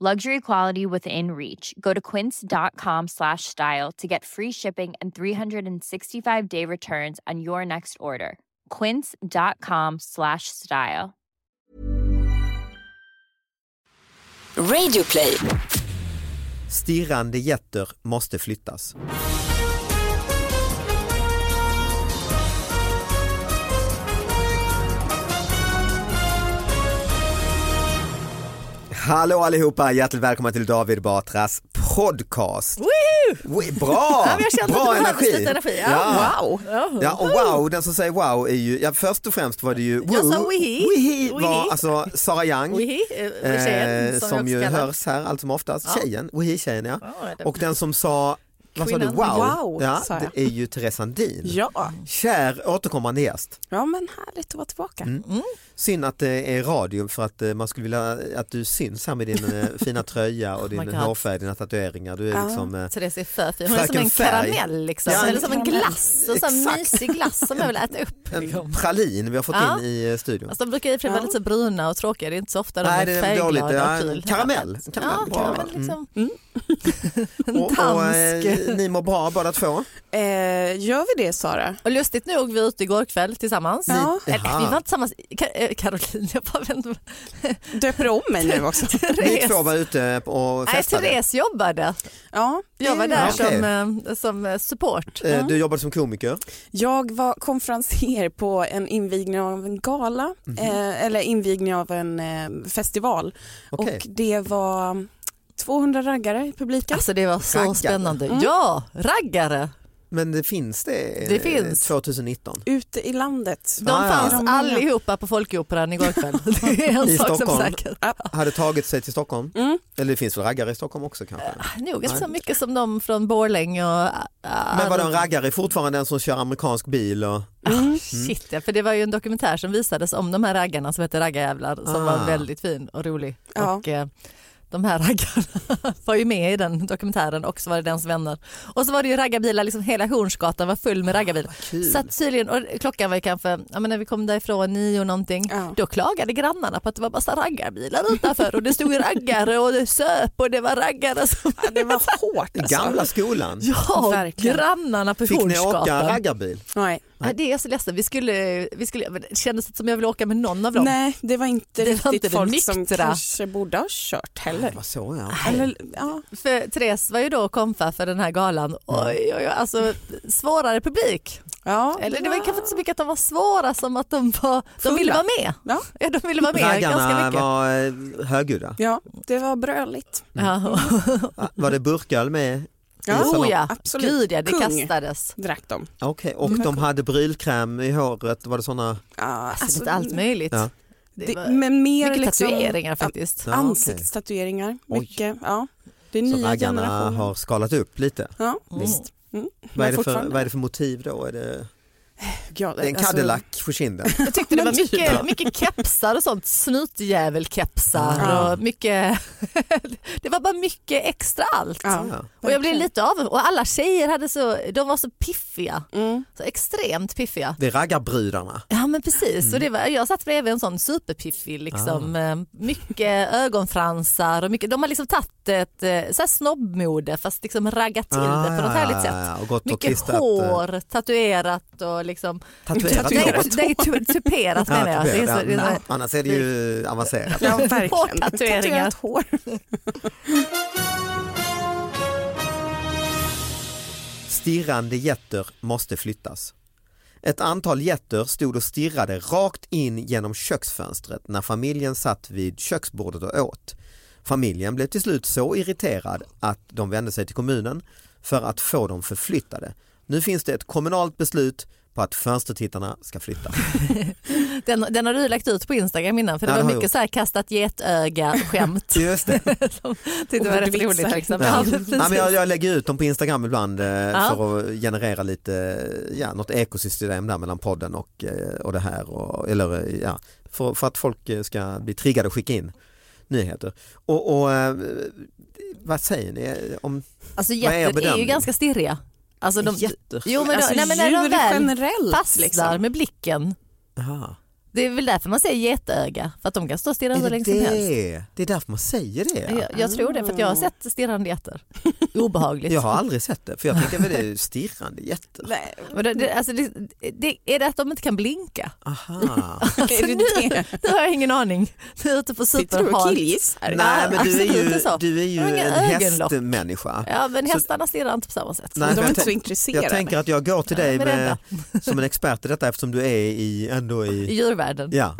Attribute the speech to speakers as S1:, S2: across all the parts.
S1: Luxury quality within reach. Go to quince.com slash style to get free shipping and 365 day returns on your next order. Quince.com slash style.
S2: Radio play.
S3: Stirrande getter måste flyttas. Hallå allihopa, hjärtligt välkomna till David Batras podcast.
S4: Woohoo!
S3: Oj, Bra!
S4: Ja, men jag kände
S3: Bra
S4: att det behövdes lite energi. Ja. Wow.
S3: Ja, och wow, den som säger wow är ju, ja, först och främst var det ju
S4: Jag sa
S3: woo.
S4: wihi.
S3: Wihi var
S4: Wihi.
S3: alltså Sara Young,
S4: Wihi, eh, tjejen, som jag
S3: som
S4: också
S3: ju
S4: kallar.
S3: hörs här allt som oftast, tjejen, wihi-tjejen ja.
S4: Ja, det-
S3: Och den som sa, vad sa du,
S4: Kvinnan.
S3: wow,
S5: Wow,
S3: ja,
S5: sa jag.
S3: det är ju Therese Sandin.
S5: Ja,
S3: Kär återkommande gäst.
S5: ja men härligt att vara tillbaka.
S3: Mm. Synd att det är radio för att eh, man skulle vilja att du syns här med din eh, fina tröja och din
S4: God.
S3: hårfärg, dina tatueringar. Du är liksom eh,
S4: Therese är för fin. Hon är som
S3: Fröken
S4: en
S3: Färg.
S4: karamell liksom.
S3: Ja,
S4: Eller som en
S3: karamell.
S4: glass. En sån
S3: Exakt.
S4: mysig glass som jag vill äta upp.
S3: en pralin vi har fått
S4: Ja.
S3: in i eh, studion.
S4: Alltså, de brukar i och för sig vara lite bruna och tråkiga. Det är inte så ofta de
S3: Nej,
S4: är,
S3: det är
S4: färgglada
S3: dåligt.
S4: och
S3: Ja,
S4: kul.
S3: karamell.
S4: Ja,
S3: Karamell. Mm.
S4: karamell
S3: Bra.
S4: liksom.
S3: Och, och, eh,
S4: dansk.
S3: ni mår bra båda två?
S5: Eh, gör vi det Sara?
S4: Och lustigt nog, vi var ute igår kväll tillsammans.
S5: Ja.
S4: Eller,
S3: Jaha.
S4: vi var inte tillsammans. Ka- eh, Caroline, jag bara vände mig.
S5: Döper om mig nu också.
S3: Ni
S4: Therese.
S3: två var ute och
S4: Nej,
S3: festade?
S4: Therese jobbade.
S5: Ja, det
S4: Jag var
S5: gör
S4: där
S3: Ja, okej.
S4: som, eh, som eh, support.
S3: Eh, Du jobbade som komiker?
S5: Jag var konferenser på en invigning av en gala,
S3: Mhm.
S5: eh, eller invigning av en eh, festival.
S3: Okej.
S5: Och det var 200 raggare i publiken.
S4: Alltså det var så
S3: Raggare.
S4: spännande. Ja, raggare.
S3: Men det finns det, eh,
S4: Det finns.
S3: 2019?
S5: Ute i landet.
S4: De
S3: Ah, ja.
S4: fanns
S5: Är de många?
S4: allihopa på Folkoperan igår kväll. Det är en
S3: I
S4: sak
S3: Stockholm.
S4: som är säker.
S3: Hade tagit sig till Stockholm?
S4: Mm.
S3: Eller det finns väl raggare i Stockholm också kanske?
S4: Ah, Nog inte så mycket som de från Borlänge och... ah,
S3: Men var de raggare fortfarande den som kör amerikansk bil? Och...
S5: Mm.
S4: ah, Shit ja, för det var ju en dokumentär som visades om de här raggarna som hette Raggarjävlar som
S3: Ah.
S4: var väldigt fin och rolig.
S5: Ja.
S4: Och, eh, de här raggarna var ju med i den dokumentären och så var det dens vänner. Och så var det ju raggarbilar, liksom hela Hornsgatan var full med raggarbilar.
S3: Ah, kul.
S4: Så att tydligen, och klockan var ju kanske, ja, men när vi kom därifrån nio och någonting,
S5: Ja.
S4: då klagade grannarna på att det var massa raggarbilar utanför och det stod ju raggare och det söp och det var raggare som
S5: Ja, det var hårt
S3: I
S5: alltså.
S3: gamla skolan?
S4: Ja,
S5: Verkligen.
S4: grannarna på
S3: Fick ni åka
S4: Hornsgatan.
S3: raggarbil?
S5: Nej.
S4: Ja, det är jag så ledsen. Vi skulle, vi skulle, men det kändes inte som jag ville åka med någon av dem.
S5: Nej, det var inte
S4: Det var
S5: riktigt
S4: inte det
S5: folk som
S4: nyktra.
S5: kanske borde ha kört heller.
S3: Vad så ja.
S5: Eller, ja.
S4: För Therese var ju då kompa för den här galan. Oj, oj, oj, alltså svårare publik.
S5: Ja,
S4: Eller det var kanske inte så mycket att de var svåra som att de var, de ville vara med.
S5: Ja.
S4: Ja, de ville vara med ganska
S3: Raggarna
S4: mycket.
S3: var eh, högljudda.
S5: Ja, det var bröligt.
S4: Ja.
S3: Ah, Var det burköl med?
S5: Mm. Ja.
S3: Salong.
S4: Oh ja,
S5: Absolut.
S4: gud ja, det
S5: Kung.
S4: kastades.
S5: Drack de.
S3: Okej,
S4: Mm.
S3: och de hade brylkräm i håret, var det sådana?
S5: Ja,
S4: Alltså,
S5: alltså,
S4: lite allt möjligt.
S3: Ja.
S4: Det
S5: det,
S4: var
S5: men mer
S4: mycket
S5: liksom,
S4: tatueringar faktiskt.
S3: Ja, okej.
S5: Ansiktstatueringar,
S3: Oj.
S5: mycket. Ja. Det är
S3: Så
S5: nya
S3: raggarna
S5: generationer.
S3: har skalat upp lite.
S5: Ja,
S4: Mm.
S5: visst. Mm.
S3: Vad är,
S5: Men
S3: det för,
S5: fortfarande.
S3: vad är det för motiv då? Är det...
S5: Ja,
S3: Det är en
S5: alltså-
S3: Cadillac på kinden.
S4: Jag tyckte det
S5: Men
S4: var
S5: typ,
S4: mycket,
S5: ja.
S4: mycket kepsar och sånt, snutjävelkepsar
S5: Ja.
S4: och mycket, det var bara mycket extra allt.
S5: Ja.
S4: Och jag blev lite av och alla tjejer hade så, de var så piffiga,
S5: Mm.
S4: så extremt piffiga.
S3: Det är raggarbrudarna.
S4: Ja men precis, och det var, jag satt bredvid en sån superpiffig liksom.
S3: Ah.
S4: Eh, Mycket ögonfransar och mycket, de har liksom tagit ett eh, så här snobbmode fast liksom raggat till det på något härligt sätt.
S3: Ah, ja, och gått och
S4: Mycket
S3: klistrat, eh,
S4: hår, tatuerat och liksom...
S3: Tatuerat
S4: nej,
S3: hår.
S4: nej, tu- tuperat menar jag. Det är så, det är så,
S3: Ja, annars är det ju avancerat.
S5: Ja, verkligen.
S4: Hårtatueringar.
S5: Tatuerat hår.
S3: Stirrande getter måste flyttas. Ett antal getter stod och stirrade rakt in genom köksfönstret när familjen satt vid köksbordet och åt. Familjen blev till slut så irriterad att de vände sig till kommunen för att få dem förflyttade. Nu finns det ett kommunalt beslut på att fönstertittarna ska flytta.
S4: den, den har du lagt ut på Instagram innan för det
S3: Ja, det har
S4: var
S3: jag
S4: mycket så här kastat getöga-skämt.
S3: Just det.
S4: som tyckte det var
S5: Och
S4: rätt
S5: vitsar.
S4: roligt. Liksom.
S3: Ja.
S4: Ja,
S3: Nej, men
S4: precis.
S3: jag, jag lägger ut dem på Instagram ibland eh, för att generera lite, ja, något ekosystem där mellan podden och, eh, och det här. Och, eller, eh, ja, för, för att folk eh, ska bli triggade och skicka in nyheter. Och, och eh, vad säger ni? eh, Om,
S4: Alltså
S3: Vad är
S4: getter är, ju
S3: bedömning?
S4: ganska stirriga. Alltså, de,
S3: Getter?
S4: Jo, men,
S5: alltså,
S4: då, nej, men när de
S5: djur
S4: väl
S5: generellt. liksom?
S4: fastnar
S3: liksom.
S4: med blicken.
S3: Aha.
S4: Det är väl därför man säger getöga, för att de kan stå och stirra
S3: Är
S4: hur
S3: det, Ah.
S4: länge som helst.
S3: det? det är därför man säger det. ja.
S4: Jag, jag tror det, för att jag har sett stirrande getter. Obehagligt.
S3: Jag har aldrig sett det, för jag tänker väl det är ju stirrande getter.
S5: Nej,
S4: Men det, det, alltså, det, det, är det att de inte kan blinka?
S3: Aha.
S5: är det det?
S4: Alltså, Nu har jag ingen aning. Nu är jag ute på
S5: Sitter du och
S4: superhal.
S5: killgissar?
S3: Nej men du är
S4: Ah, absolut inte
S3: ju,
S4: Alltså, så.
S3: du är ju
S4: Jag har inga
S3: en
S4: ögonlock.
S3: hästmänniska.
S4: Ja, men hästarna stirrar inte på samma sätt.
S3: Nej,
S5: De
S3: men
S5: är
S3: jag
S5: inte så
S3: tänk-
S5: intresserade.
S3: Jag tänker att jag går till dig
S4: men
S3: med, som en expert i detta eftersom du är i, ändå
S4: I
S3: i...
S4: djurvärlden.
S3: Ja,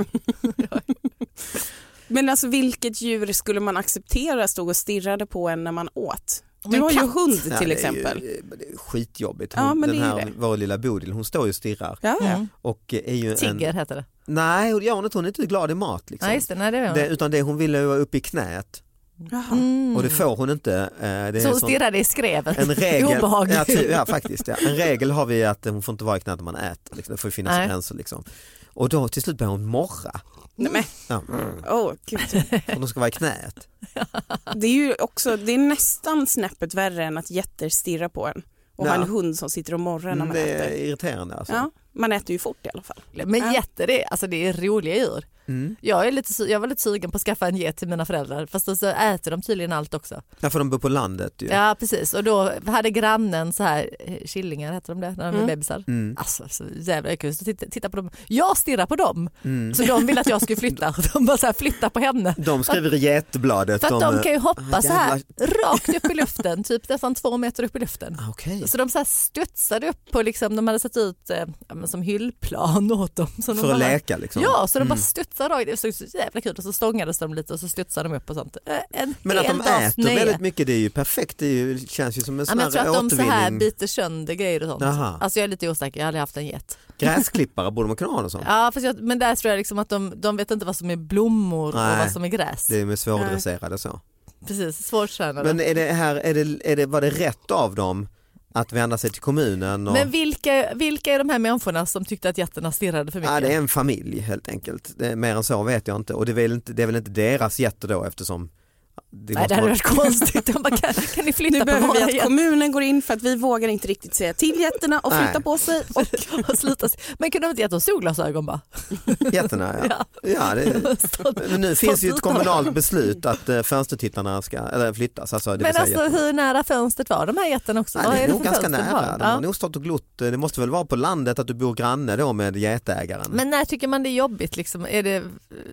S5: Men alltså vilket djur skulle man acceptera stod och stirrade på en när man åt? Du
S4: Men
S5: har ju
S4: katt.
S5: hund
S3: Nej,
S5: till
S3: det är
S5: exempel.
S3: Ju, det är skitjobbigt. Hon,
S5: Ja, men
S3: den
S5: det är
S3: här,
S5: ju
S3: Vår lilla Bodil, hon står ju och stirrar.
S5: Ja, ja.
S4: Mm.
S3: Och är ju en,
S4: Tigger heter det.
S3: nej, och det gör hon inte. Hon är inte glad i mat. Liksom.
S4: Nej, just det. Nej, det, var...
S3: Det, utan det hon ville vara uppe i knät
S5: Jaha.
S4: Mm.
S3: och det får hon inte. Eh, Det är
S4: Så
S3: en
S4: hon
S3: sån-
S4: stirrade i skrevet.
S3: en regel,
S4: Obehagligt.
S3: ja, ty- ja, faktiskt, ja. en regel har vi att hon får inte vara i knät när man äter. Liksom. Det får ju finnas
S4: Nej.
S3: gränser. Liksom. Och då till slut börjar hon morra.
S5: Nej, men,
S3: Ja,
S5: oh, gud.
S3: för att hon ska vara i knät.
S5: Det är ju också, det är nästan snäppet värre än att getter stirrar på en och
S3: Ja.
S5: ha en hund som sitter och morrar när man
S3: Mm, Det är
S5: äter.
S3: irriterande alltså.
S5: Ja, man äter ju fort i alla fall.
S4: Men getter är, alltså, det är roliga djur.
S3: Mm.
S4: Jag, är lite, su- jag var lite sugen på att skaffa en get till mina föräldrar fast då så äter de tydligen allt också.
S3: Ja, för de bor på landet ju.
S4: Ja precis och då hade grannen så här eh, killingar heter de det när de är bebisar.
S3: Mm.
S4: Alltså så jävla kul. Så titta, titta på dem. Jag stirrar på dem så de vill att jag skulle flytta. De bara så här flytta på henne.
S3: Mm. De skriver i Getbladet.
S4: För att de kan ju
S3: Ah,
S4: hoppa så här
S3: jävlar.
S4: rakt upp i luften, typ nästan två meter upp i luften.
S3: Ah, Okej,
S4: Så de så här studsade upp på, liksom, de hade satt ut eh, ja, men som hyllplan åt dem. Som de
S3: för att
S4: bara-
S3: läka liksom.
S4: Ja, så de bara studsade rakt. Det såg så jävla kul ut och så stångades de lite och så studsade de upp och sånt. Eh, En
S3: Men att de
S4: hel dags
S3: äter
S4: nöje.
S3: väldigt mycket det är ju perfekt, det är ju, känns ju som en
S4: Ja,
S3: sån
S4: men
S3: här
S4: jag tror att de så
S3: återvinning.
S4: här biter sönder grejer och sånt.
S3: Jaha.
S4: Alltså jag är lite osäker, jag har aldrig haft en get.
S3: Gräsklippare borde man kunna ha något sånt.
S4: Ja, fast jag, men där tror jag liksom att de, de vet inte vad som är blommor och
S3: Nej.
S4: vad som är gräs.
S3: Det är med svårdresserade så.
S4: Precis, svårtränade.
S3: Men
S4: Men,
S3: är det här, är det, är det, var det rätt av dem att vända sig till kommunen? Och...
S4: vilka, vilka är de här människorna som tyckte att getterna stirrade för mycket?
S3: Ja, det är en familj helt enkelt. Det är, mer än så vet jag inte. Och det är väl inte, det är väl inte deras getter då eftersom det
S4: Nej, det
S3: måste
S4: hade
S3: vara-
S4: varit konstigt. De bara, kan, kan ni
S5: Nu
S4: flytta på
S5: behöver
S4: våra
S5: vi att
S4: getter?
S5: kommunen går in för att vi vågar inte riktigt säga till getterna och flytta
S3: Nej.
S5: på sig. Och
S4: Och sluta. se- Men kunde de inte gett oss solglasögon bara?
S3: Getterna ja. ja det... Men nu finns ju ett kommunalt beslut att eh, fönstertittarna ska eller flyttas. Alltså, det
S4: Men
S3: vill
S4: alltså
S3: säga
S4: hur nära fönstret var de här getterna också?
S3: Nej,
S4: Vad
S3: det är
S4: det
S3: nog
S4: för
S3: ganska
S4: fönster de
S3: nära.
S4: har?
S3: De
S4: Ja.
S3: har nog stått och glott. Det måste väl vara på landet att du bor granne då med getägaren.
S4: Men när tycker man det är jobbigt? Liksom? Är det eh,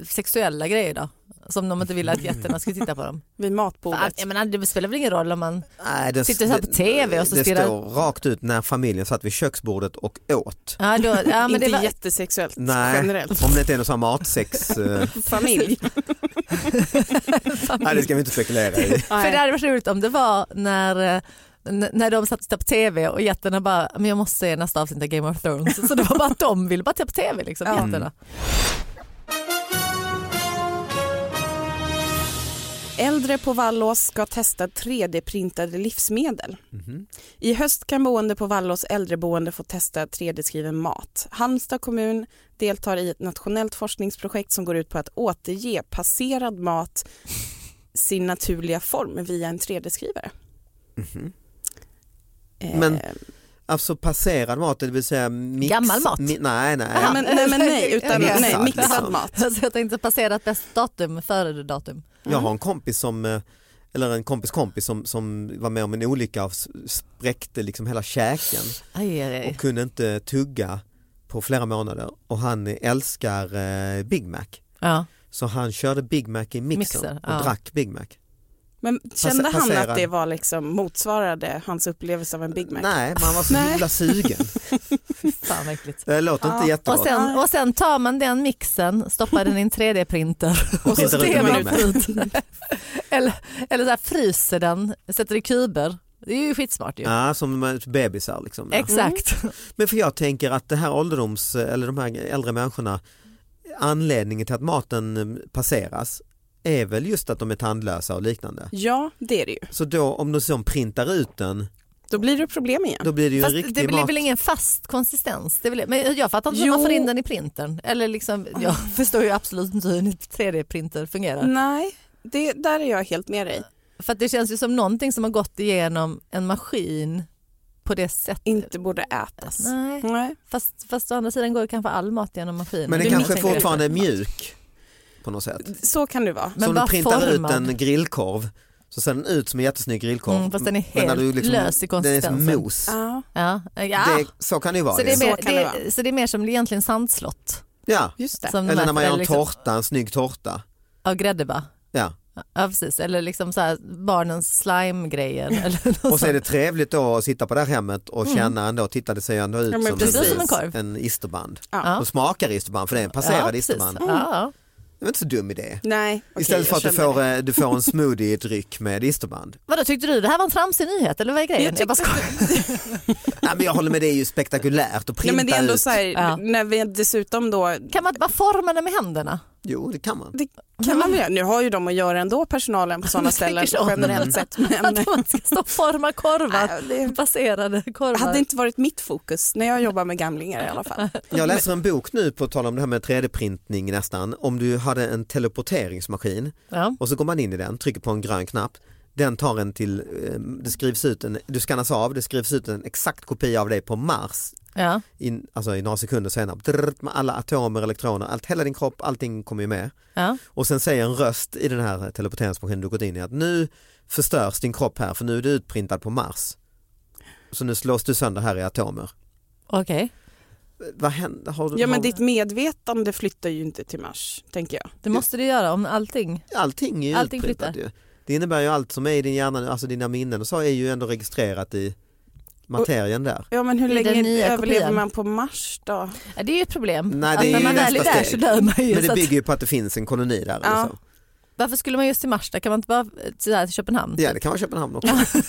S4: sexuella grejer då? Som de inte ville att getterna skulle titta på dem?
S5: vid
S4: Fan,
S5: matbordet.
S4: Jag menar, det spelar väl ingen roll om man...
S3: Nej, det,
S4: Sitter så här på TV och så
S3: det
S4: stirrar-
S3: står rakt ut när familjen satt vid köksbordet och åt.
S4: Ja, då, ja, men
S5: inte
S4: det var...
S5: jättesexuellt
S3: Nej,
S5: generellt.
S3: om det inte är någon sån här matsex. eh,
S5: Familj.
S3: Nej, det ska vi inte spekulera i.
S4: För det hade varit roligt om det var när eh, n- när de satt och tittade på tv och getterna bara, men jag måste se nästa avsnitt av Game of Thrones. Så det var bara att de ville bara titta på tv liksom, getterna.
S5: Äldre på Vallås ska testa 3D-printade livsmedel.
S3: Mhm.
S5: I höst kan boende på Vallås äldreboende få testa 3D-skriven mat. Halmstad kommun deltar i ett nationellt forskningsprojekt som går ut på att återge passerad mat sin naturliga form via en 3D-skrivare. Eh,
S3: Mhm. Men- Alltså passerad mat, det vill säga mix...
S4: Gammal mat?
S3: Mi, nej, nej.
S5: nej, men, nej, men nej, utan
S3: Mixad,
S5: nej, mixad
S3: liksom.
S5: mat.
S4: Alltså jag tänkte passerat bäst datum, före datum.
S3: Jag har en kompis som, eh, eller en kompis kompis som, som var med om en olycka och s- spräckte liksom hela käken
S4: Aj, aj, aj.
S3: och kunde inte tugga på flera månader och han älskar eh, Big Mac.
S4: Ja.
S3: Så han körde Big Mac i mixern
S4: Mixer, ja.
S3: och drack Big Mac.
S5: Men kände han
S3: passerad.
S5: att det var liksom motsvarade hans upplevelse av en Big Mac?
S3: Nej, man var så
S5: Nej.
S3: himla sugen.
S4: Fy fan vad äckligt.
S3: Det låter inte
S5: Ja,
S3: jättegott.
S4: Och sen, och sen tar man den mixen, stoppar den i en 3D-printer och så
S3: Printar ut
S4: stenar
S3: en
S4: man
S3: Big Mac.
S4: ut den. Eller, eller så här fryser den, sätter i kuber. Det är ju skitsmart ju.
S3: Ja, som de är bebisar liksom. Ja.
S4: Exakt.
S3: Men för jag tänker att det här ålderdoms eller de här äldre människorna anledningen till att maten eh, passeras är väl just att de är tandlösa och liknande.
S5: Ja, det är det ju.
S3: Så då om de som printar ut den
S5: Då blir det problem igen.
S3: då blir det ju en
S4: Fast
S3: riktig
S4: det blir
S3: mat.
S4: väl ingen fast konsistens? Det blir, men jag fattar inte hur man
S5: Jo.
S4: får in den i printern. Eller liksom, jag förstår ju absolut inte hur en 3D-printer fungerar.
S5: Nej, det, där är jag helt med dig.
S4: För att det känns ju som någonting som har gått igenom en maskin på det sättet.
S5: Inte borde ätas.
S4: Nej,
S5: Nej.
S4: fast, fast å andra sidan går ju kanske all mat genom maskinen.
S3: Men
S5: det
S3: den
S5: är
S3: kanske
S5: min-
S3: fortfarande är mjuk på något sätt.
S5: Så kan det vara.
S3: så
S4: Men
S3: om du
S4: bara
S3: printar
S4: formad.
S3: ut en grillkorv så ser den ut som en jättesnygg grillkorv.
S4: Mm, fast den är
S3: Men när
S4: helt
S3: du liksom-
S4: lös
S3: Den
S4: i
S3: är
S4: konsistensen.
S3: som mos.
S5: Ja,
S4: Ja, ja.
S3: Det, så kan det ju vara.
S4: så, det är
S3: ju.
S4: mer,
S5: Så kan det
S4: det så det är mer som egentligen sandslott.
S3: ja.
S5: just det.
S4: Som
S3: Eller när
S4: äter
S3: man gör en
S4: liksom-
S3: torta, en snygg torta.
S4: Ja, grädde va?
S3: Ja.
S4: Ja, precis. Eller liksom så här, barnens slime-grejer. eller något
S3: Och så är
S4: sånt.
S3: det trevligt då att sitta på det här hemmet och känna ändå, titta det ser ändå ut
S5: Ja, men
S3: som,
S5: precis.
S4: Mm. Som en korv.
S3: en isterband.
S5: Ja.
S3: Och smakar isterband för det är en
S4: ja,
S3: passerad
S4: precis.
S3: isterband.
S4: Ja, ja.
S3: Det var inte så dum idé.
S5: Nej, okej,
S3: Istället för
S5: jag
S3: att du
S5: kände
S3: får,
S5: det.
S3: eh, du får en smoothiedryck med isterband.
S4: Vadå, tyckte du det här var en tramsig nyhet eller vad är grejen?
S5: Jag
S4: Jag bara
S5: tyckte-
S4: skojar.
S3: Nej, men jag håller med, det är ju spektakulärt att printa
S5: Nej, men det är ändå
S3: ut.
S5: så här,
S4: Ja.
S5: när vi dessutom då
S4: Kan man inte bara forma den med händerna?
S3: Jo, det kan man.
S5: det kan man väl göra. Nu har ju de att göra ändå personalen på sådana
S4: Jag
S5: ställen
S4: tänker så.
S5: generellt sett. Men,
S4: Att man ska stå och forma korvar,
S5: Nej, det
S4: baserade korvar.
S5: hade inte varit mitt fokus när jag jobbar med gamlingar i alla fall.
S3: Jag läser en bok nu på tal om det här med 3D-printning nästan. Om du hade en teleporteringsmaskin
S4: Ja.
S3: och så går man in i den, trycker på en grön knapp. Den tar en till, eh, det skrivs ut en, du skannas av, det skrivs ut en exakt kopia av dig på Mars
S4: Ja.
S3: i, alltså i några sekunder senare. Drrrt, med alla atomer, elektroner, allt, hela din kropp, allting kommer ju med.
S4: Ja.
S3: Och sen säger en röst i den här teleporteringsmaskinen du gått in i att nu förstörs din kropp här för nu är du utprintad på Mars. Så nu slås du sönder här i atomer.
S4: Okej.
S3: Vad händer? Har, du-
S5: Ja, men
S3: har,
S5: ditt medvetande flyttar ju inte till Mars, tänker jag.
S4: Det måste du göra om allting.
S3: Allting är ju
S4: Allting
S3: utprintat
S4: flyttar.
S3: ju. Det innebär ju allt som är i din hjärna, nu, alltså dina minnen och så är ju ändå registrerat i materien där.
S5: Ja, men hur
S4: I den
S5: länge
S4: nya
S5: överlever
S4: kopian.
S5: man på Mars då?
S4: Ja, det är ju ett problem.
S3: Nej, det
S4: att
S3: är
S4: när
S3: ju
S4: man väl är
S3: nästa
S4: där så
S3: steg.
S4: dör man
S3: Men
S4: ju. så
S3: det
S4: att,
S3: bygger ju på att det finns en koloni där.
S5: Ja.
S3: Eller så.
S4: Varför skulle man just till Mars? Där kan man inte bara eh, till, så här, till Köpenhengen?
S3: Ja det kan vara Köpenhamn också.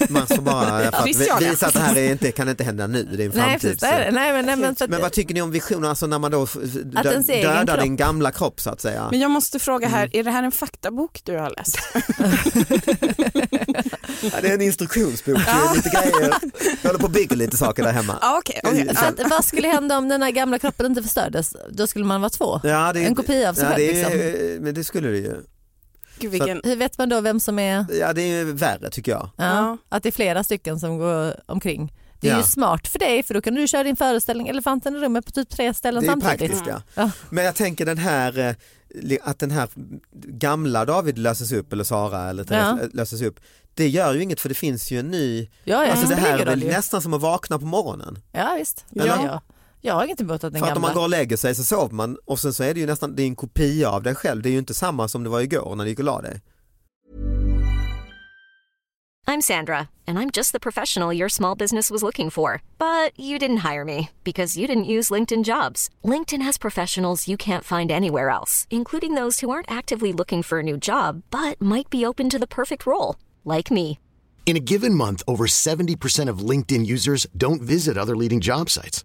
S3: Man får bara för att
S5: Christiania.
S3: visa att det här är inte, kan inte hända nu, det är en
S4: nej,
S3: framtid.
S4: precis, det är det. nej, men, nej, men, så att,
S3: Men vad tycker ni om visioner, alltså när man då f- dö-
S4: ens egen
S3: dödar
S4: kropp.
S3: din gamla kropp så att säga?
S5: Men jag måste fråga här, är det här en faktabok du har läst?
S3: Ja, det är en instruktionsbok, det är lite grejer. Jag håller på och bygger lite saker där hemma.
S5: Ja, okej. okej.
S3: Så
S4: så att, vad skulle hända om den här gamla kroppen inte förstördes? Då skulle man vara två.
S3: Ja, det är,
S4: En kopia av sig
S3: ja,
S4: själv.
S3: det
S4: liksom.
S3: är, Men det skulle det ju.
S5: Gud, vilken...
S4: Hur vet man då vem som är...
S3: Ja det är ju värre tycker jag.
S4: Ja,
S5: Ja.
S4: Att det är flera stycken som går omkring. Det är
S3: Ja.
S4: ju smart för dig för då kan du köra din föreställning Elefanten i rummet på typ tre ställen
S3: Det är
S4: samtidigt.
S3: praktiskt ja.
S4: Ja.
S3: Men jag tänker den här, eh, li- att den här gamla David löses upp eller Sara eller Therese eh,
S4: Ja.
S3: löses upp. Det gör ju inget för det finns ju en ny,
S4: Ja, ja,
S3: alltså det här är
S4: spelar
S3: väl
S4: ingen roll ju.
S3: nästan som att vakna på morgonen.
S4: Ja visst. Ja.
S3: Eller?
S4: Ja. Jag har inget emot att den
S3: För att om
S4: gamla...
S3: man går och lägger sig så sover man och sen så är det ju nästan, det är en kopia av dig själv. Det är ju inte samma som det var igår när du gick och la dig.
S6: I'm Sandra, and I'm just the professional your small business was looking for. But you didn't hire me because you didn't use LinkedIn jobs. LinkedIn has professionals you can't find anywhere else, including those who aren't actively looking for a new job but might be open to the perfect role, like me.
S7: In a given month, over 70% of LinkedIn users don't visit other leading job sites.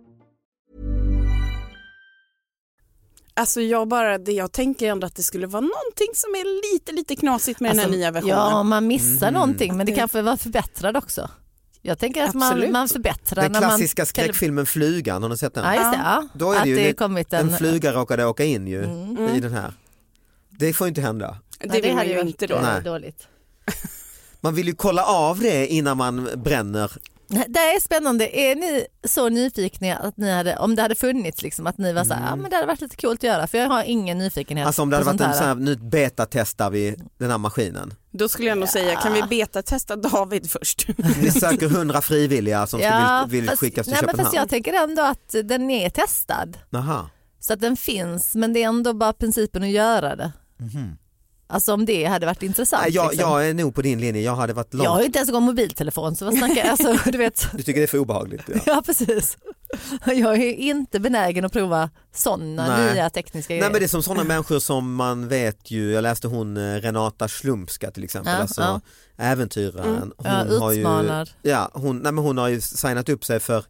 S5: Alltså jag bara, det jag tänker ändå att det skulle vara någonting som är lite, lite knasigt med
S3: Alltså,
S5: den här nya versionen.
S4: Alltså, Ja, man missar
S3: Mm.
S4: någonting men det kanske var förbättrad också. Jag tänker att man,
S5: Absolut.
S4: man förbättrar
S3: Den
S4: när man...
S3: klassiska skräckfilmen Flugan, har ni sett den?
S4: Ja, just det. Ja.
S3: Då är
S4: att
S3: det ju
S4: det
S3: li-
S4: kommit en... Mm.
S3: En fluga råkade åka in ju i den här. Det får ju inte hända.
S5: det
S4: Nej,
S5: vill man
S4: hade
S5: ju inte då.
S4: varit, eh,
S3: Nej.
S4: dåligt.
S3: Man vill ju kolla av det innan man bränner.
S4: Det är spännande. Är ni så nyfikna att ni hade, om det hade funnits, liksom, att ni var så här, ah, men det hade varit lite coolt att göra för jag har ingen nyfikenhet
S3: Mm. Alltså om det hade
S4: på
S3: varit
S4: sånt
S3: en sån här, nu betatestar vi den här maskinen.
S5: Då skulle jag nog säga, kan vi betatesta David först?
S3: Vi söker hundra frivilliga som ska vill, vill
S4: fast-
S3: skickas till
S4: nej, men
S3: Köpenhamn.
S4: fast jag tänker ändå att den är testad
S3: Jaha.
S4: så att den finns men det är ändå bara principen att göra det. Alltså om det hade varit intressant.
S3: Mhm. Nej, jag,
S4: liksom.
S3: jag är nog på din linje, jag hade varit långt.
S4: jag har ju inte ens en gång mobiltelefon så vad snackar jag? Alltså, du vet.
S3: Du tycker det är för obehagligt? Ja.
S4: Ja precis. Jag är ju inte benägen att prova sådana
S3: Nej.
S4: nya tekniska
S3: Nej men det är som sådana människor som man vet ju, jag läste hon eh, Renata Slumska till exempel,
S4: Ja,
S3: alltså
S4: ja. Mm.
S3: äventyraren.
S4: Ja,
S3: Hon har ju,
S4: utmanad.
S3: ja, hon, nej, men hon har ju signat upp sig för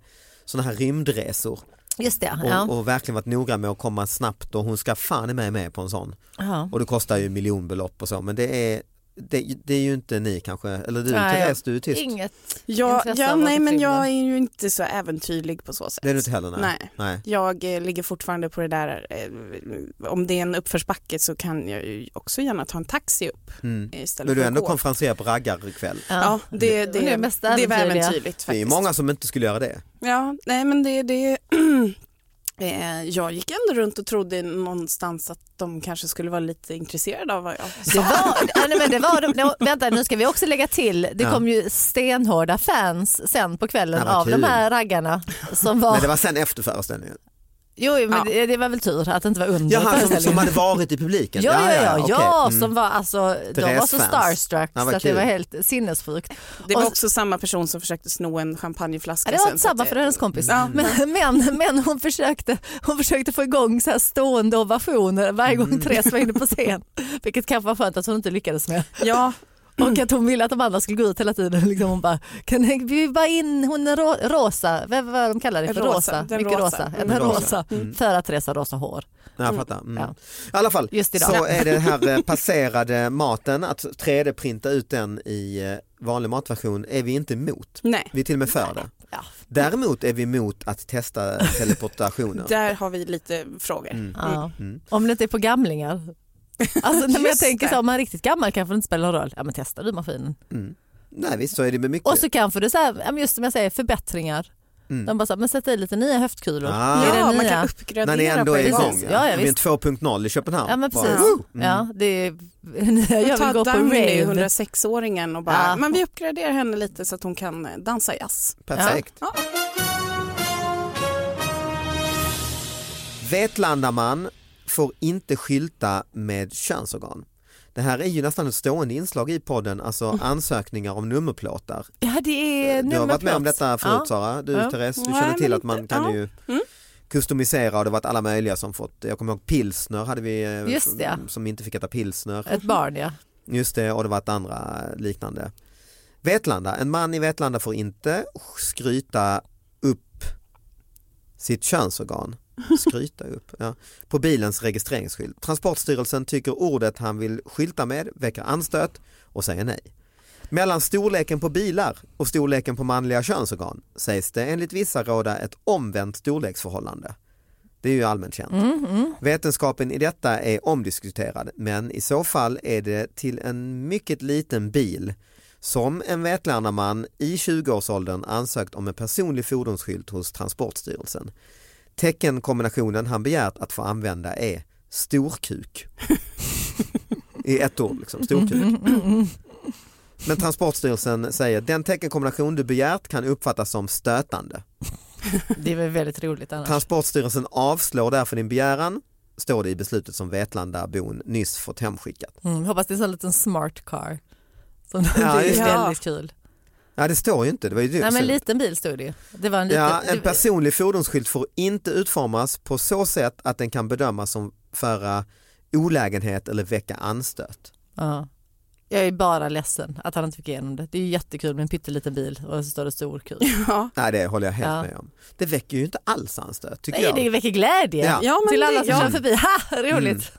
S3: sådana här rymdresor
S4: Just det,
S3: och,
S4: ja.
S3: och verkligen varit noga med att komma snabbt och hon ska fan i mig med på en sån.
S4: ja.
S3: Och det kostar ju miljonbelopp och så men det är, det, det är ju inte ni kanske, eller du
S4: Nej,
S3: Therese, du är tyst.
S4: Inget
S5: Ja,
S4: intresse
S5: ja
S4: av att
S5: nej men
S4: förtvivla.
S5: jag är ju inte så äventyrlig på så sätt.
S3: Det är du inte heller? Nej.
S5: Nej. Jag eh, ligger fortfarande på det där, eh, om det är en uppförsbacke så kan jag ju också gärna ta en taxi upp
S3: Mm.
S5: eh, istället
S3: Men du
S5: för
S3: är
S5: att
S3: ändå
S5: gå.
S3: konferenserar på raggarkväll.
S5: Ja, det, det,
S4: Det är
S5: det,
S4: det mest
S5: är väl
S4: äventyrliga.
S5: äventyrligt
S3: Det är ju
S5: faktiskt.
S3: många som inte skulle göra det.
S5: Ja, nej men det, det eh, jag gick ändå runt och trodde någonstans att de kanske skulle vara lite intresserade av vad jag
S4: Det
S5: sa.
S4: var, ja, nej, men det var de, nej, vänta nu ska vi också lägga till, det
S3: Ja.
S4: kom ju stenhårda fans sen på kvällen
S3: Ja, vad
S4: av
S3: kul.
S4: de här raggarna som var,
S3: Men det var sen efter föreställningen.
S4: jo jo, men
S5: Ja.
S4: det, det var väl tur att det inte var under
S3: Jaha, som, som
S4: föreställningen.
S3: hade varit i publiken?
S4: Ja, ja, ja,
S3: okej.
S4: ja
S3: Mm.
S4: som var alltså, de var
S3: Therese
S4: så
S3: fans.
S4: starstruck
S3: Ja, vad
S4: så att det
S3: kul.
S4: var helt sinnessjukt.
S5: Det var
S4: Och-
S5: också samma person som försökte sno en
S4: Ja,
S5: champagneflaska.
S4: det var
S5: sen,
S4: inte
S5: så att
S4: samma för hennes kompis.
S5: Ja.
S4: Men, men, men hon, försökte, hon försökte få igång så här stående ovationer varje
S5: Mm.
S4: gång Therese var inne på scen. Vilket kanske var skönt att hon inte lyckades med.
S5: Ja,
S4: Och att hon ville att de andra skulle gå ut hela tiden. Liksom hon bara, kan ni- vi bara in, hon är rå, rosa, vad vad de kallar det för?
S5: Rosa,
S4: Rosa,
S5: den
S4: mycket
S5: rosa.
S4: rosa.
S5: Mm.
S4: Den
S3: Den rosa.
S4: rosa. För att Therese har rosa hår.
S3: Ja, jag fattar. Mm.
S4: Ja.
S3: I alla fall,
S4: Just idag.
S3: så är det här eh, passerade maten, att 3D-printa ut den i eh, vanlig matversion är vi inte emot.
S5: nej,
S3: Vi är till och med för det.
S4: Ja.
S3: Däremot är vi emot att testa teleportationer.
S5: där har vi lite frågor.
S3: Mm.
S4: Ja. Om det inte är på gamlingar. Alltså, när jag
S5: Mm. Just
S4: tänker så
S5: det.
S4: om man är riktigt gammal kanske det inte spelar någon roll. Ja men testa du maskinen.
S3: Nej visst, så är det med mycket.
S4: Och så kanske det är så här, ja, men just som jag säger förbättringar. De bara så här, men sätta i lite nya höftkulor.
S3: Mm. Ah.
S4: Det är det
S5: Ja, man
S4: nya.
S3: När
S5: kan
S3: ni
S5: uppgradera
S3: ändå
S5: på
S3: är
S5: det
S3: igång.
S4: Precis.
S3: Ja.
S4: Ja, ja,
S3: vi är en
S4: visst.
S3: 2.0 i Köpenhamn.
S4: Ja men
S3: Bara,
S4: precis.
S3: woo! Mm.
S4: Ja, det är, jag vill gå
S5: Ta
S4: på rave.
S5: Dagny, 106-åringen och bara,
S4: Ja.
S5: men vi uppgraderar henne lite så att hon kan eh, dansa jazz.
S3: Perfekt.
S5: Ja.
S3: Vetlandaman får inte skylta med könsorgan. Det här är ju nästan ett stående inslag i podden, alltså ansökningar om nummerplåtar.
S4: Ja Mm. det är
S3: Du har varit med om
S4: nummerplåt.
S3: detta förut
S4: Ja.
S3: Sara, du
S4: Ja.
S3: Therese, du
S5: Nej,
S3: känner till
S5: men
S3: att man
S5: inte-
S3: kan
S5: ja.
S3: ju
S4: Mm.
S3: customisera och det har varit alla möjliga som fått, jag kommer ihåg pilsner hade vi eh,
S4: Just det, ja.
S3: som inte fick äta pilsner.
S4: Ett barn ja.
S3: Just det, och det varit andra liknande. Vetlanda, en man i Vetlanda får inte skryta upp sitt könsorgan. Skryta upp, ja. På bilens registreringsskylt. Transportstyrelsen tycker ordet han vill skylta med väcker anstöt och säger nej. Mellan storleken på bilar och storleken på manliga könsorgan sägs det enligt vissa råda ett omvänt storleksförhållande. Det är ju allmänt känt. Vetenskapen i detta är omdiskuterad men i så fall är det till en mycket liten bil som en Vetlandaman i 20-årsåldern ansökt om en personlig fordonsskylt hos Transportstyrelsen. Teckenkombinationen han begärt att få använda är storkuk. I ett ord liksom, storkuk. Men Transportstyrelsen säger den teckenkombination du begärt kan uppfattas som stötande.
S4: Det är väl väldigt roligt annars.
S3: Transportstyrelsen avslår därför din begäran, står det i beslutet som Vetlandabon nyss fått hemskickat.
S4: Mm, hoppas det är en liten smart car. Som
S3: Ja,
S4: det är
S3: just det.
S4: väldigt kul.
S3: Ja det står ju inte, det var ju dumt.
S4: Nej men en liten bil stod det ju. Det var en liten,
S3: Ja, en personlig fordonsskylt får inte utformas på så sätt att den kan bedömas som föra olägenhet eller väcka anstöt.
S4: Ja. Jag är bara ledsen att han inte fick igenom det. Det är ju jättekul med en pytteliten bil och så står det stor kul.
S3: Nej det håller jag helt
S4: Ja.
S3: med om. Det väcker ju inte alls anstöt tycker
S4: Nej,
S3: jag.
S4: det väcker glädje
S3: Ja. Mm. Ja, men
S4: till
S3: det-
S4: alla som
S3: ja.
S4: kör förbi. Ha, roligt.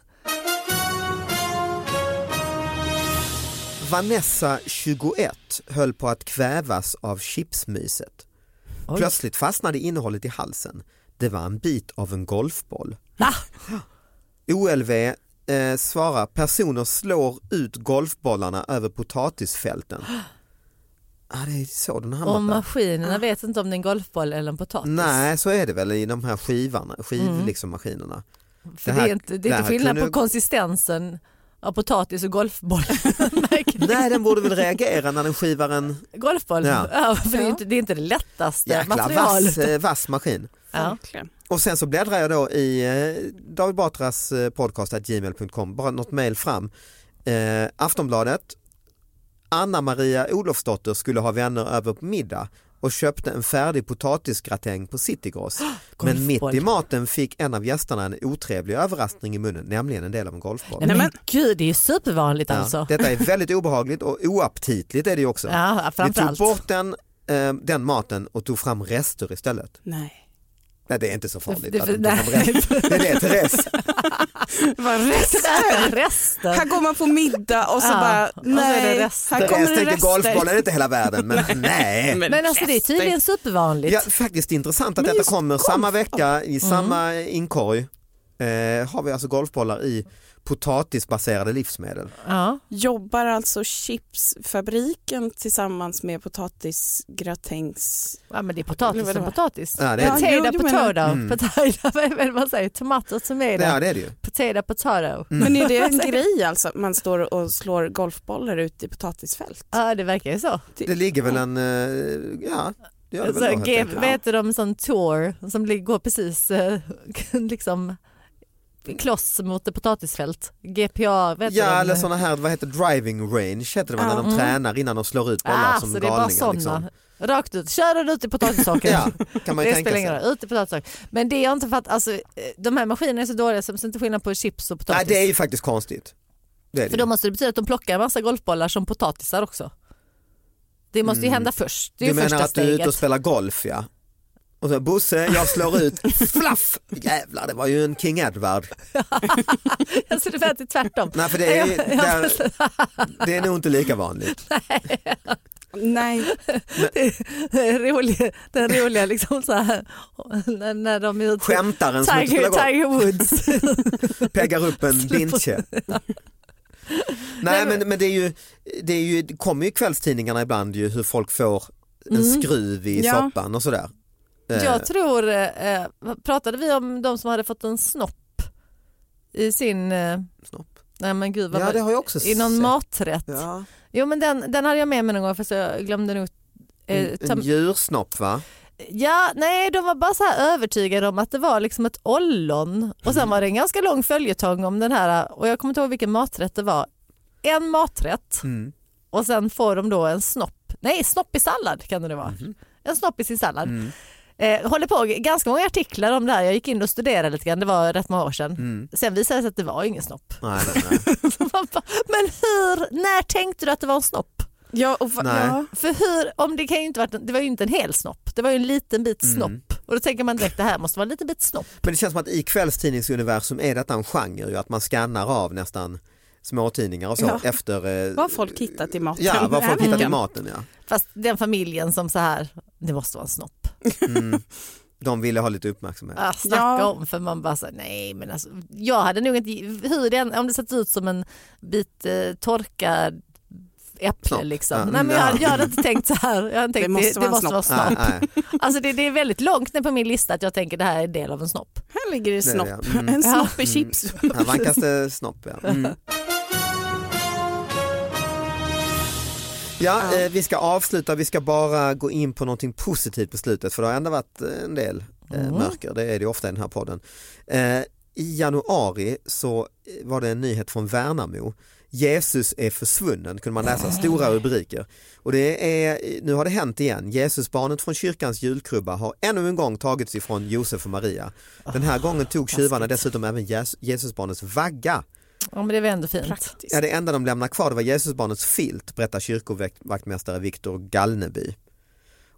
S3: Vanessa 21 höll på att kvävas av chipsmyset.
S4: Oj.
S3: Plötsligt fastnade innehållet i halsen. Det var en bit av en golfboll.
S4: Va?
S3: OLV eh, svarar personer slår ut golfbollarna över potatisfälten. Ja, det är så den hamnat
S4: Och
S3: där.
S4: maskinerna vet inte om det är en golfboll eller en potatis.
S3: Ah. Nej, så är det väl i de här skivarna, skiv,
S4: Mm.
S3: liksom, maskinerna.
S4: För det,
S3: här-
S4: är inte, det är
S3: här
S4: inte skillnad
S3: kunde-
S4: på konsistensen av potatis och golfboll.
S3: Nej, den borde väl reagera när den skivar en
S4: golfboll,
S3: Ja.
S4: ja. för Det, är inte, det är inte det lättaste
S3: jäkla
S4: materialet.
S3: vass, eh, vass maskin.
S4: Ja.
S3: Och sen så bläddrar jag då i eh, David Batras eh, podcast at gmail.com, bara något mejl fram. Eh, Aftonbladet, Anna-Maria Olofsdotter skulle ha vänner över på middag och köpte en färdig potatisgratäng på Citygross. Men mitt
S4: golfboll.
S3: i maten fick en av gästerna en otrevlig överraskning i munnen, nämligen en del av en golfboll.
S4: Nej, men, gud, det är ju supervanligt
S3: Ja,
S4: alltså.
S3: Detta är väldigt obehagligt och oaptitligt är det ju också.
S4: Ja,
S3: Vi tog
S4: framförallt.
S3: bort den, eh, den maten och tog fram rester istället.
S5: Nej.
S3: Nej det är inte så farligt.
S4: Det-
S3: att
S4: det-
S3: de tog fram
S4: nej.
S3: rester. det är det Therese.
S5: Vad rester!
S4: Resten.
S5: Här går man på middag Ah, och så
S4: Ja,
S5: bara
S4: och så är det
S5: nej,
S4: rester.
S5: här
S3: Therese
S5: kommer det
S3: tänkte golfboll är
S5: rester.
S3: inte hela världen men nej.
S4: Men alltså det är tydligen supervanligt.
S3: Ja, faktiskt intressant att detta kommer samma vecka
S4: Mm.
S3: i samma inkorg. Eh, har vi alltså golfbollar i potatisbaserade livsmedel.
S4: Ja.
S5: Jobbar alltså chipsfabriken tillsammans med potatisgratängs...
S4: Ja men det är potatis
S5: Eller vad
S4: som
S5: det var.
S4: potatis.
S3: Ja, det är det.
S5: Ja,
S4: potato,
S5: jo, jo, men-
S4: potato, potato, vad är det man säger? Tomater, tomato,
S3: Ja Mm. det är det ju.
S4: potato, potato.
S5: Men är det en grej alltså att man står och slår golfbollar ut i potatisfält?
S4: Ja det verkar ju så.
S3: Det ligger väl en, eh, ja det gör det
S4: Alltså,
S3: väl då, helt
S4: G-
S3: enkelt.
S4: vad heter de, sån tour som lig- går precis eh, liksom kloss mot ett potatisfält. GPA, vad heter
S3: Ja
S4: de?
S3: eller sådana här, vad heter driving range heter det väl,
S5: Ja.
S3: när de
S5: Mm.
S3: tränar innan de slår ut bollar
S4: ah,
S3: som
S4: så det är bara
S3: galningar.
S4: sådana.
S3: Liksom.
S4: Rakt ut, kör den ut i potatissockret.
S3: Ja, kan man ju
S4: det
S3: tänka
S4: spelar ingen
S3: sig.
S4: roll, ut i potatissockret. Men det jag inte fattar, alltså, eh, de här maskinerna är så dåliga så det finns inte skillnad på chips och
S3: Nej
S4: potatis.
S3: det är ju faktiskt konstigt. Det är det.
S4: För då
S3: ju.
S4: måste det betyda att de plockar en massa golfbollar som potatisar också. Det måste ju hända först. Det är
S3: Mm. Du
S4: ju
S3: menar
S4: första
S3: att du är ute
S4: steget.
S3: och spelar golf ja? Och så Bosse, jag slår ut, flaff! Jävlar det var ju en King Edward.
S4: alltså, det är tvärtom.
S3: Nej för det är, ju- där, det är nog inte lika vanligt.
S5: Nej,
S4: rolig, den roliga liksom så här, när, när de är ute.
S3: Skämtaren som inte
S4: Tiger,
S3: spelar golf
S4: Tiger Woods.
S3: peggar upp en bintje. Nej men, men det, är ju, det, är ju, det kommer ju i kvällstidningarna ibland ju hur folk får en skruv i
S5: Ja.
S3: soppan och sådär. Eh,
S4: Mm. Jag tror, eh, vad- pratade vi om de som hade fått en snopp i sin, eh,
S3: Snopp.
S4: nej men gud vad
S3: Ja
S4: var-
S3: det har jag också
S4: i någon
S3: sett.
S4: maträtt.
S3: Ja.
S4: Jo men den, den hade jag med mig någon gång fast jag glömde nog eh,
S3: En,
S4: ta,
S3: en djursnopp va?
S4: Ja, nej de var bara så här övertygade om att det var liksom ett ollon och sen var det en ganska lång följetong om den här och jag kommer inte ihåg vilken maträtt det var. En maträtt
S3: Mm.
S4: och sen får de då en snopp, nej snopp i sallad kan det nu vara. En snopp i sin sallad. Eh, håller på ganska många artiklar om det här, jag gick in och studerade lite grann, det var rätt många år sedan. Sen visade det sig att det var ingen snopp.
S3: Nej, nej, nej.
S4: Man bara, Men hur, när tänkte du att det var en snopp?
S5: ja, och va,
S3: Nej.
S5: ja.
S4: För hur, om det kan ju inte varit, en- det var ju inte en hel snopp, det var ju en liten bit snopp. Och då tänker man direkt det här måste vara en liten bit snopp.
S3: Men det känns som att i kvällstidningsuniversum är detta en genre ju, att man skannar av nästan småtidningar och så
S5: Ja.
S3: efter eh,
S5: vad har folk hittat i maten?
S3: Ja, vad folk
S5: Den här
S3: hittat i
S5: veckan?
S3: maten ja.
S4: Fast den familjen som så här, det måste vara en snopp.
S3: De ville ha lite uppmärksamhet.
S4: Ah, snacka
S5: Ja.
S4: om för man bara så här, nej men alltså, jag hade nog inte, hur den, om det sett ut som en bit eh, torkad äpple
S3: Snopp.
S4: liksom.
S3: Ja. Mm,
S4: Nej, men jag,
S3: Ja.
S4: jag hade inte tänkt så här, jag hade tänkt, det måste, det, måste vara snopp.
S3: Nej, nej.
S4: Alltså det, det är väldigt långt ner på min lista att jag tänker det här är en del av en snopp.
S5: Här ligger det
S3: Det är
S5: snopp.
S3: det, ja. Mm.
S5: En snopp i chips.
S3: Här vankas det snopp ja. Mm. Ja, eh, vi ska avsluta, vi ska bara gå in på någonting positivt på slutet för det har ändå varit en del eh,
S4: Mm.
S3: mörker, det är det ju ofta i den här podden. Eh, I januari så eh, var det en nyhet från Värnamo. Jesus är försvunnen kunde man läsa, stora rubriker. Och det är, eh, nu har det hänt igen, Jesusbarnet från kyrkans julkrubba har ännu en gång tagits ifrån Josef och Maria. Den här gången tog tjuvarna dessutom även Jes- Jesusbarnets vagga.
S4: Ja men det är väl ändå fint.
S3: Ja, det enda de lämnar kvar det var Jesusbarnets filt, berättar kyrkovaktmästare Viktor Gallneby.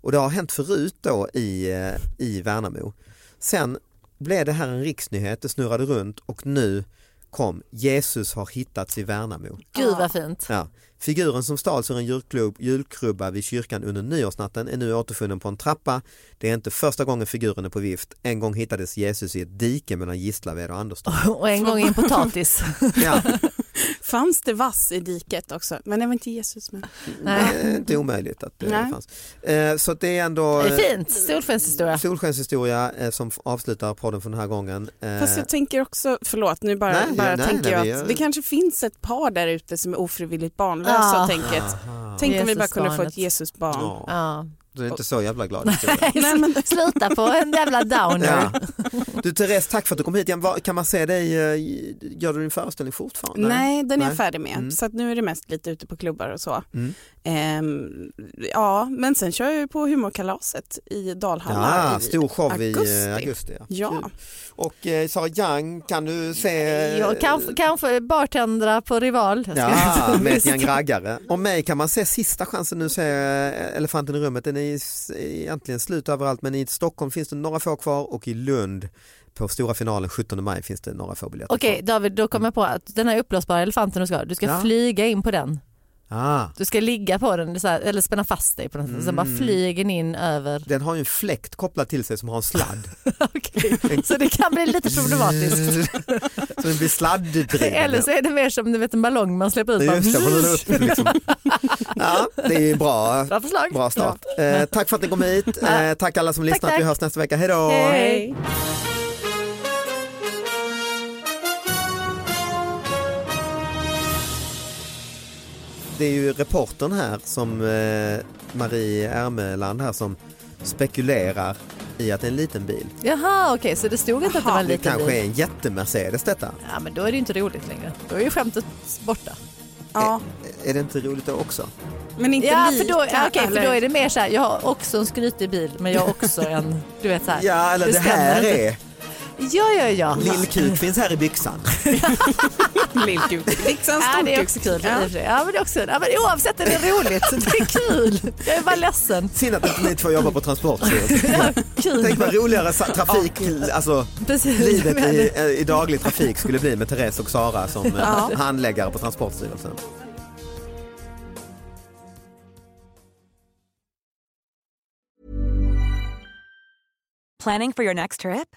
S3: Och det har hänt förut då i, eh, i Värnamo. Sen blev det här en riksnyhet, det snurrade runt och nu kom Jesus har hittats i Värnamo.
S4: Gud vad fint.
S3: Ja. Figuren som stals ur en julklub, julkrubba vid kyrkan under nyårsnatten är nu återfunnen på en trappa. Det är inte första gången figuren är på vift. En gång hittades Jesus i ett dike mellan Gislaved och Anderstorp.
S4: Och en gång i en potatis.
S3: Ja.
S5: Fanns det vass i diket också? Men det var inte Jesus med.
S3: Nej. Eh, Det är inte omöjligt att det
S5: Nej.
S3: fanns. Eh, Så att det är ändå
S4: Det är
S3: eh,
S4: fint, solskenshistoria.
S3: solskenshistoria eh, som f- avslutar podden för den här gången. Eh,
S5: Fast jag tänker också, förlåt nu bara,
S3: Nej,
S5: bara
S3: ja, nej,
S5: tänker
S3: nej,
S5: jag
S3: vi
S5: att
S3: gör-
S5: det kanske finns ett par där ute som är ofrivilligt barnlösa
S4: Ah.
S5: och tänker att
S3: Aha.
S5: tänk om vi bara kunde få
S4: Jesusbarnet.
S5: ett Jesusbarn.
S3: Ja,
S4: Ja.
S3: du är inte så jävla glad. historia.
S5: Nej, men,
S4: Sluta på en jävla downer.
S3: Ja. Du Therese, tack för att du kom hit. Ja, vad- Kan man se dig, eh, gör du din föreställning fortfarande?
S5: nej, den är
S3: Nej.
S5: jag färdig med.
S3: Mm.
S5: Så att nu är det mest lite ute på klubbar och så.
S3: Mm.
S5: Ehm, ja, men sen kör jag ju på humorkalaset i Dalhalla.
S3: Ja,
S5: i,
S3: stor show i
S5: augusti.
S3: eh, augusti. Ja.
S5: Ja,
S3: Och eh, Sara Young, kan du se?
S4: Jag kanske, kanske bartendra på Rival. Jag ska-
S3: Ja, med ett gäng raggare. Och mig kan man se sista chansen nu, se eh, Elefanten i rummet. Den är i- s- egentligen slut överallt men i Stockholm finns det några få kvar och i Lund på stora finalen 17 maj finns det några få biljetter
S4: Okej
S3: kvar.
S4: David, då kommer jag på att den här uppblåsbara elefanten du ska ha, du ska
S3: Ja.
S4: flyga in på den.
S3: Ah,
S4: Du ska ligga på den så här, eller spänna fast dig på något sätt. Sen
S3: Mm.
S4: bara flyger den in över.
S3: den har ju en fläkt kopplad till sig som har en sladd.
S4: Okej. Så det kan bli lite problematiskt.
S3: så den blir sladddriven.
S4: Eller så är det mer som du vet, en ballong man släpper ut.
S3: Mm. Just det, man håller
S4: Bara,
S3: upp den liksom. Ja, det är ju bra.
S4: bra förslag.
S3: Bra start. Eh, tack för att ni kom hit. Eh, tack alla som lyssnat. Vi
S4: tack.
S3: hörs nästa vecka. Hej då!
S4: Hej.
S3: Det är ju reportern här som eh, Marie Ermeland här som spekulerar i att det är en liten bil.
S4: Jaha, okej, så det stod inte att det var en
S3: det
S4: liten
S3: kanske
S4: bil.
S3: är en jättemercedes detta.
S4: Ja, men då är det ju inte roligt längre. Då är ju skämtet borta.
S5: ja.
S3: Är det inte roligt då också?
S5: men inte
S4: Ja,
S5: lika.
S4: för då, ja, okej, för
S5: eller-
S4: då är det mer så här, jag har också en skrytig bil, men jag har också en, du vet så här.
S3: Ja, eller det, här
S4: stämmer
S3: är,
S4: inte. Ja, ja, ja.
S3: lillkuk finns här i byxan.
S5: Lillkuk. Fixar en
S4: Ja,
S5: stor
S4: det är också kul. i och för sig. Ja, men det är också, ja, men oavsett är det roligt. Det är kul. Jag är bara ledsen.
S3: Synd att inte ni två jobbar på Transportstyrelsen. Tänk
S4: Kul.
S3: vad roligare sa- trafik, alltså
S4: Precis.
S3: livet i, i daglig trafik skulle bli med Therese och Sara som ja. handläggare på Transportstyrelsen.
S8: Planning for your next trip?